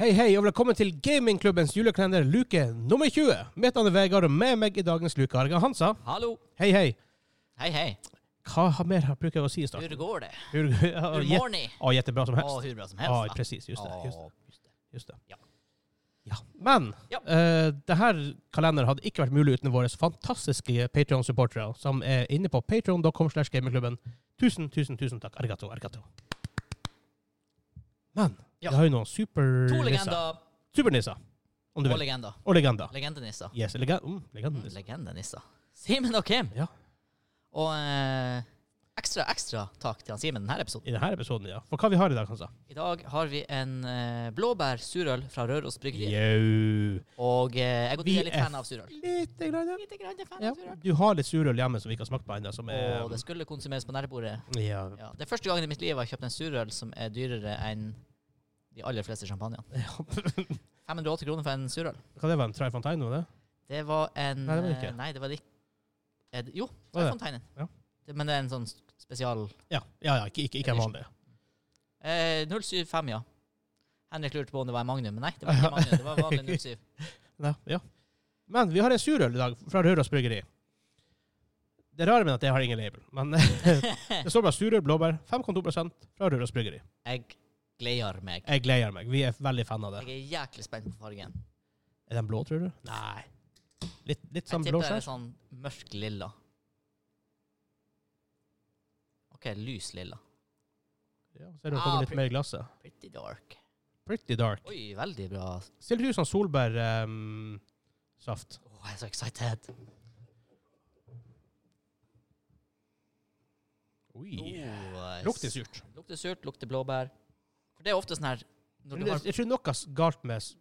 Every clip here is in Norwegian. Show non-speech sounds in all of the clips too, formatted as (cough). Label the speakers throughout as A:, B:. A: Hei, hei, og velkommen til gamingklubbens julekalender luke nummer 20. Mitt navn er Vegard, og med meg i dagens luke har jeg Hansa.
B: Hallo.
A: Hei, hei.
B: Hei, hei.
A: Hva har- mer har- bruker jeg å si i starten? Ah,
B: Hur går det?
A: Hur,
B: Hur mår ni?
A: Å, jättebra som helst.
B: Åh, hur bra som helst.
A: Ja,
B: va?
A: precis. Ah, Just det.
B: Ja,
A: Just det.
B: just det.
A: Just det.
B: Ja.
A: Ja. Men
B: Ja.
A: eh, det her kalenderen hadde ikke vært mulig uten våre fantastiske Patreon-supportere, som er inne på patreon.com slash gamingklubben. Tusen, tusen, tusen takk. Arigato, arigato. Men
B: Ja.
A: det har jo noen
B: To
A: supernisser.
B: legender
A: Supernisser, om du
B: og
A: vil.
B: legender.
A: Og legender.
B: Legendenisser.
A: Yes, legend, mm,
B: Mm,
A: legenden.
B: Legendenisser. Simen og Kim.
A: Ja.
B: Og eh, ekstra, ekstra takk til han Simen denne episoden.
A: I denne episoden, ja. For hva vi har i dag, Hansa?
B: I dag har vi en eh, blåbær surøl fra Røros Bryggeri.
A: Jau.
B: Og eh, jeg går til
A: Vi
B: å være litt
A: er-
B: fan av surøl.
A: Litt grann, ja.
B: Litt grann fan
A: ja. Um.
B: av surøl.
A: Du har litt surøl hjemme som vi ikke har smakt på ennå, som er
B: Og det skulle konsumeres på nærbordet.
A: ja. (laughs)
B: Ja. Det er første gangen i mitt liv jeg har kjøpt en surøl som er dyrere enn de aller fleste champagnene.
A: Kan
B: 580 kroner for en surøl.
A: det være en Try Fontaine? var det?
B: Det var en
A: Nei, det var det ikke.
B: eh, Nei, det var det ikke. Er det- Jo, det
A: Var
B: var
A: det?
B: Fonteinen.
A: Ja.
B: Det- Men det er en sånn s- spesial
A: Ja, ja, ja ikke, ikke, ikke en vanlig.
B: eh, 075, ja. Henrik lurte på om det var en Magnum, men nei, det var ikke Magnum. Det var
A: (laughs)
B: vanlig 07.
A: Ja, ja. Men vi har en surøl i dag fra Røros Bryggeri. Det rare med at det har ingen label,
B: (laughs)
A: men det står bare surøl, blåbær, 5,2 fra Røros Bryggeri.
B: Jeg gleder meg.
A: Jeg gleder meg. Vi er veldig fan av det.
B: Jeg er jæklig spent på fargen.
A: Er den blå, tror du?
B: Nei.
A: Litt, litt
B: Jeg
A: sånn
B: tipper det er
A: blåskjær?
B: sånn mørk lilla. OK, lys lilla.
A: Ja, ser du det kommer litt mer i glasset.
B: sånn. Ah, Pretty dark.
A: Pretty dark.
B: Oi, veldig bra.
A: Ser litt ut som ehm, solbærsaft.
B: Åh, jeg er så excited.
A: Oi.
B: Åh,
A: Lukter surt.
B: Lukter surt, lukter blåbær. For det er ofte sånn her når
A: Men
B: du
A: det-
B: har
A: Jeg tror noe s- galt med s-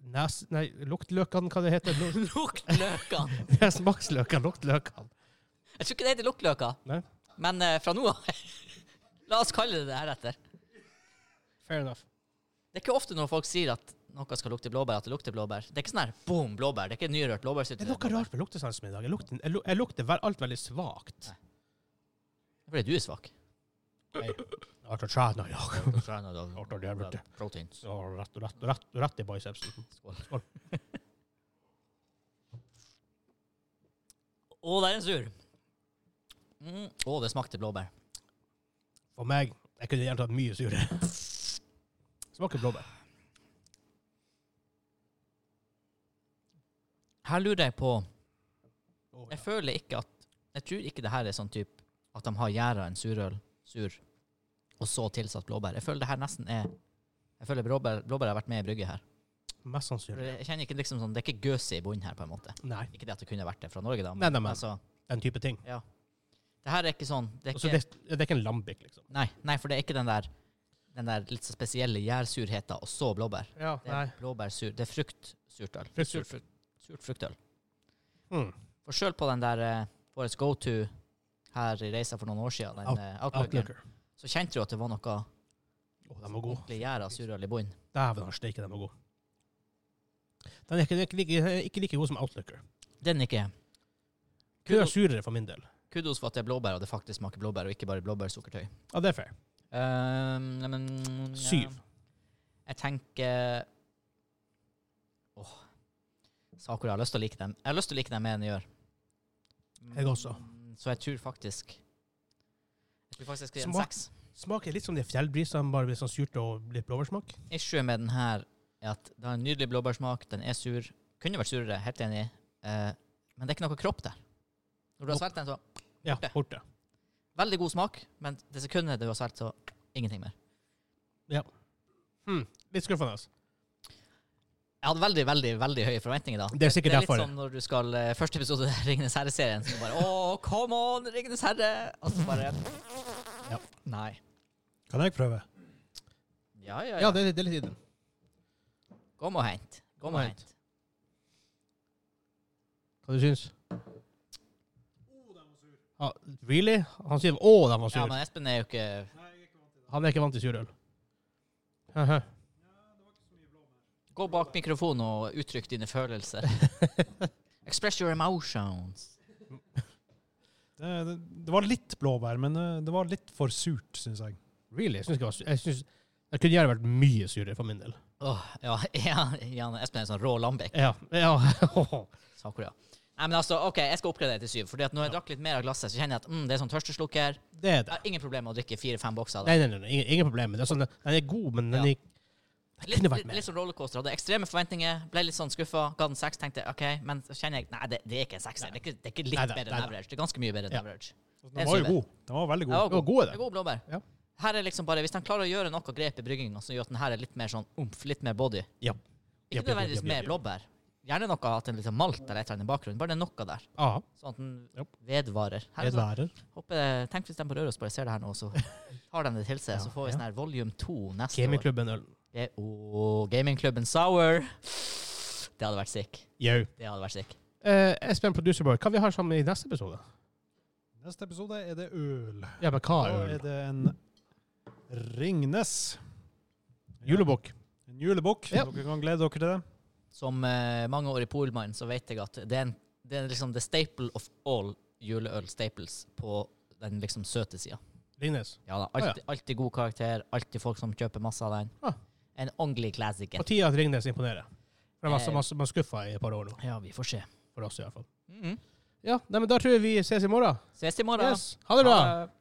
A: nes... Nei, luktløkene, hva det heter det?
B: (laughs) Luktløkene!
A: Smaksløkene, luktløkene.
B: Jeg tror ikke det heter luktløker,
A: Nei.
B: men eh, fra nå av (laughs) La oss kalle det det heretter.
A: Fair enough.
B: Det er ikke ofte når folk sier at noe skal lukte blåbær, at det lukter blåbær. Det er ikke sånn her boom, blåbær. Det er ikke nyrørt blåbærsylte.
A: Det er noe rart med luktesansen min i dag. Jeg lukter, jeg lu- jeg lukter vel- alt veldig svakt.
B: Nei. Det er Fordi du er
A: (laughs)
B: svak.
A: Nei. Rart å træne i dag. Rart å gjøre det.
B: Proteins.
A: Så Rett, rett, rett, rett i bicepsen.
B: Å, det er en sur. Mm. Å, det smakte blåbær.
A: For meg, jeg kunne gjerne tatt mye surere. Smaker blåbær.
B: Her lurer jeg på
A: Å,
B: Jeg føler ikke at Jeg tror ikke det her er sånn type at de har gjæra en surøl sur, og så tilsatt blåbær. Jeg føler det her nesten er Jeg føler blåbær, blåbær har vært med i brygget her.
A: Mest
B: For
A: sannsynlig.
B: Jeg kjenner ikke liksom sånn Det er ikke gøse i bunnen her, på en måte.
A: Nei,
B: Ikke det at det kunne vært det fra Norge, da,
A: Nei, nei, men-
B: altså
A: den type ting.
B: Ja. Det her er ikke sånn det er
A: Altså,
B: ikke,
A: det, det er ikke en lambik, liksom.
B: nei, nei, for det er ikke den der Den der litt så spesielle gjærsurheten, og så blåbær.
A: Ja,
B: Det er blåbærsur Det er fruktsurtøl.
A: Fruktsurtøl.
B: Surt, frukt, surt fruktøl.
A: Mm.
B: For sjøl på den der eh, vår go to her i reisa for noen år siden, den
A: Out-
B: eh, Outlookeren,
A: Outlooker.
B: så kjente du at det var noe
A: Å, den var god.
B: ordentlig gjæra surøl i bunnen.
A: Dæven han steike, den var god. Den er ikke, ikke, like, ikke like god som Outlooker.
B: Den ikke.
A: Kunne vært
B: Kudos,
A: surere for min del.
B: kudos for at det er blåbær, og det faktisk smaker blåbær, og ikke bare blåbærsukkertøy.
A: Ja, det er fair.
B: Ehm, nei, men,
A: Syv.
B: Jeg tenker Åh. Sakura, jeg har lyst til å like dem. Jeg har lyst til å like dem mer enn jeg gjør.
A: Jeg også.
B: Mm, Så jeg tror faktisk Jeg tror faktisk jeg skal gi en
A: Smak-
B: seks.
A: Smaker litt som de fjellbrisene, bare med sånn surt og litt blåbærsmak.
B: Issue med den her er at det har en nydelig blåbærsmak, den er sur. Kunne vært surere, helt enig. Eh, men det er ikke noe kropp der. Når du har svelget den, så
A: Ja,
B: Borte.
A: borte.
B: Veldig god smak, men det sekundet du har svelget, så ingenting mer.
A: Hmm. Litt skuffende. Altså.
B: Jeg hadde veldig veldig, veldig høye forventninger da.
A: Det er sikkert
B: det er litt
A: derfor.
B: som når du skal eh, Første episode av Ringenes herre-serien. Så bare Å, come on, Ringenes herre! Og så bare
A: Ja.
B: Nei.
A: Kan jeg prøve?
B: Ja,
A: Ja,
B: ja, ja.
A: det, det er litt i den.
B: Kom og hent. Kom og hent.
A: Hva du syns Ah, really? Han sier 'å, den var
B: Ja,
A: sur'.
B: men Espen er jo ikke
A: Han er ikke vant til surøl. Haha.
B: Gå bak mikrofonen og uttrykk dine (laughs) følelser. Express your emotions.
C: Det, det, det var litt blåbær, men eh, det var litt for surt, syns jeg.
A: Really? Jeg syns ikke det var su- Jeg syns Det kunne gjerne vært mye surere for min del.
B: Åh, ja, (laughs) ja, ja, Espen er en sånn rå Lambek.
A: Ja. ja. (laughs)
B: Sakura. Nei, men altså, ok, jeg skal oppgradere til syv. Fordi at når jeg
A: Ja.
B: drakk litt mer av glasset, så kjenner jeg at mm, det er sånn tørsteslukker.
A: det er
B: Jeg
A: det.
B: har ingen problem med å drikke fire-fem bokser. av det.
A: Nei, nei, nei, nei. Ingen, ingen problem. Det er sånn, den er god, men den
B: Ja.
A: er,
C: Altså,
A: det
B: Litt,
A: kunne vært
B: litt,
A: mer.
B: litt sånn rollercoaster. Hadde ekstreme forventninger, ble litt sånn skuffa. Ga den seks, tenkte jeg, OK. Men så kjenner jeg nei, det, det er ikke en sekser. Det er ikke, det er ikke litt
A: Nei, nei,
B: bedre
A: nei,
B: enn
A: nei.
B: average. Det er ganske mye bedre enn
A: Ja. Altså,
B: average.
C: Den var
B: syver.
C: jo god. Den var veldig
B: Ja,
C: god.
A: Det var god,
B: Det er
A: det.
B: god blåbær.
A: Ja.
B: Her er liksom bare, Hvis de klarer å gjøre noe grep i brygginga som gjør at den her er litt mer sånn umf, litt mer body
A: Ja.
B: Ikke
A: Japp, japp,
B: nødvendigvis
A: japp, japp,
B: mer
A: japp.
B: blåbær. Gjerne noe at en liksom malt eller et eller annet i bakgrunnen. Bare det er noe der.
A: Ja.
B: Sånn at den
A: Japp.
B: vedvarer. Her er sånn,
A: Edværer.
B: håper, tenk hvis de på Røros bare ser det her nå, så tar de det til
A: (laughs)
B: seg.
A: Ja,
B: så får vi
A: ja.
B: sånn her volume 2 neste år.
A: Gamingklubben Ølen.
B: Det- Åh, Gamingklubben Sour. Det hadde vært sick.
A: Yo.
B: Det hadde vært sick.
A: Eh, Espen Producerboy, hva vi har sammen i neste episode?
C: Neste episode er det øl.
A: Ja, men hva er
C: Da er
A: øl?
C: det en Ringnes. Ja,
A: Julebukk.
C: En julebukk.
A: Ja.
C: Dere kan glede dere til det.
B: Som eh, mange år i Polman, så vet jeg at det er, en, det er liksom the staple of all juleøl staples på den liksom søte sida.
A: Lignes.
B: Ja da,
A: ja.
B: alltid, alltid god karakter, alltid folk som kjøper masse av den.
A: Ah.
B: En ordentlig classic.
A: På tide at Ringnes imponerer. For
B: Eh.
A: jeg var så skuffa i et par år nå.
B: Ja, vi får se.
A: For oss, i hvert fall.
B: Mhm.
A: Ja, nei, men da tror jeg vi ses i morgen.
B: Ses i morgen.
A: Mm-hmm. Yes. Ha det bra.
B: Ha det.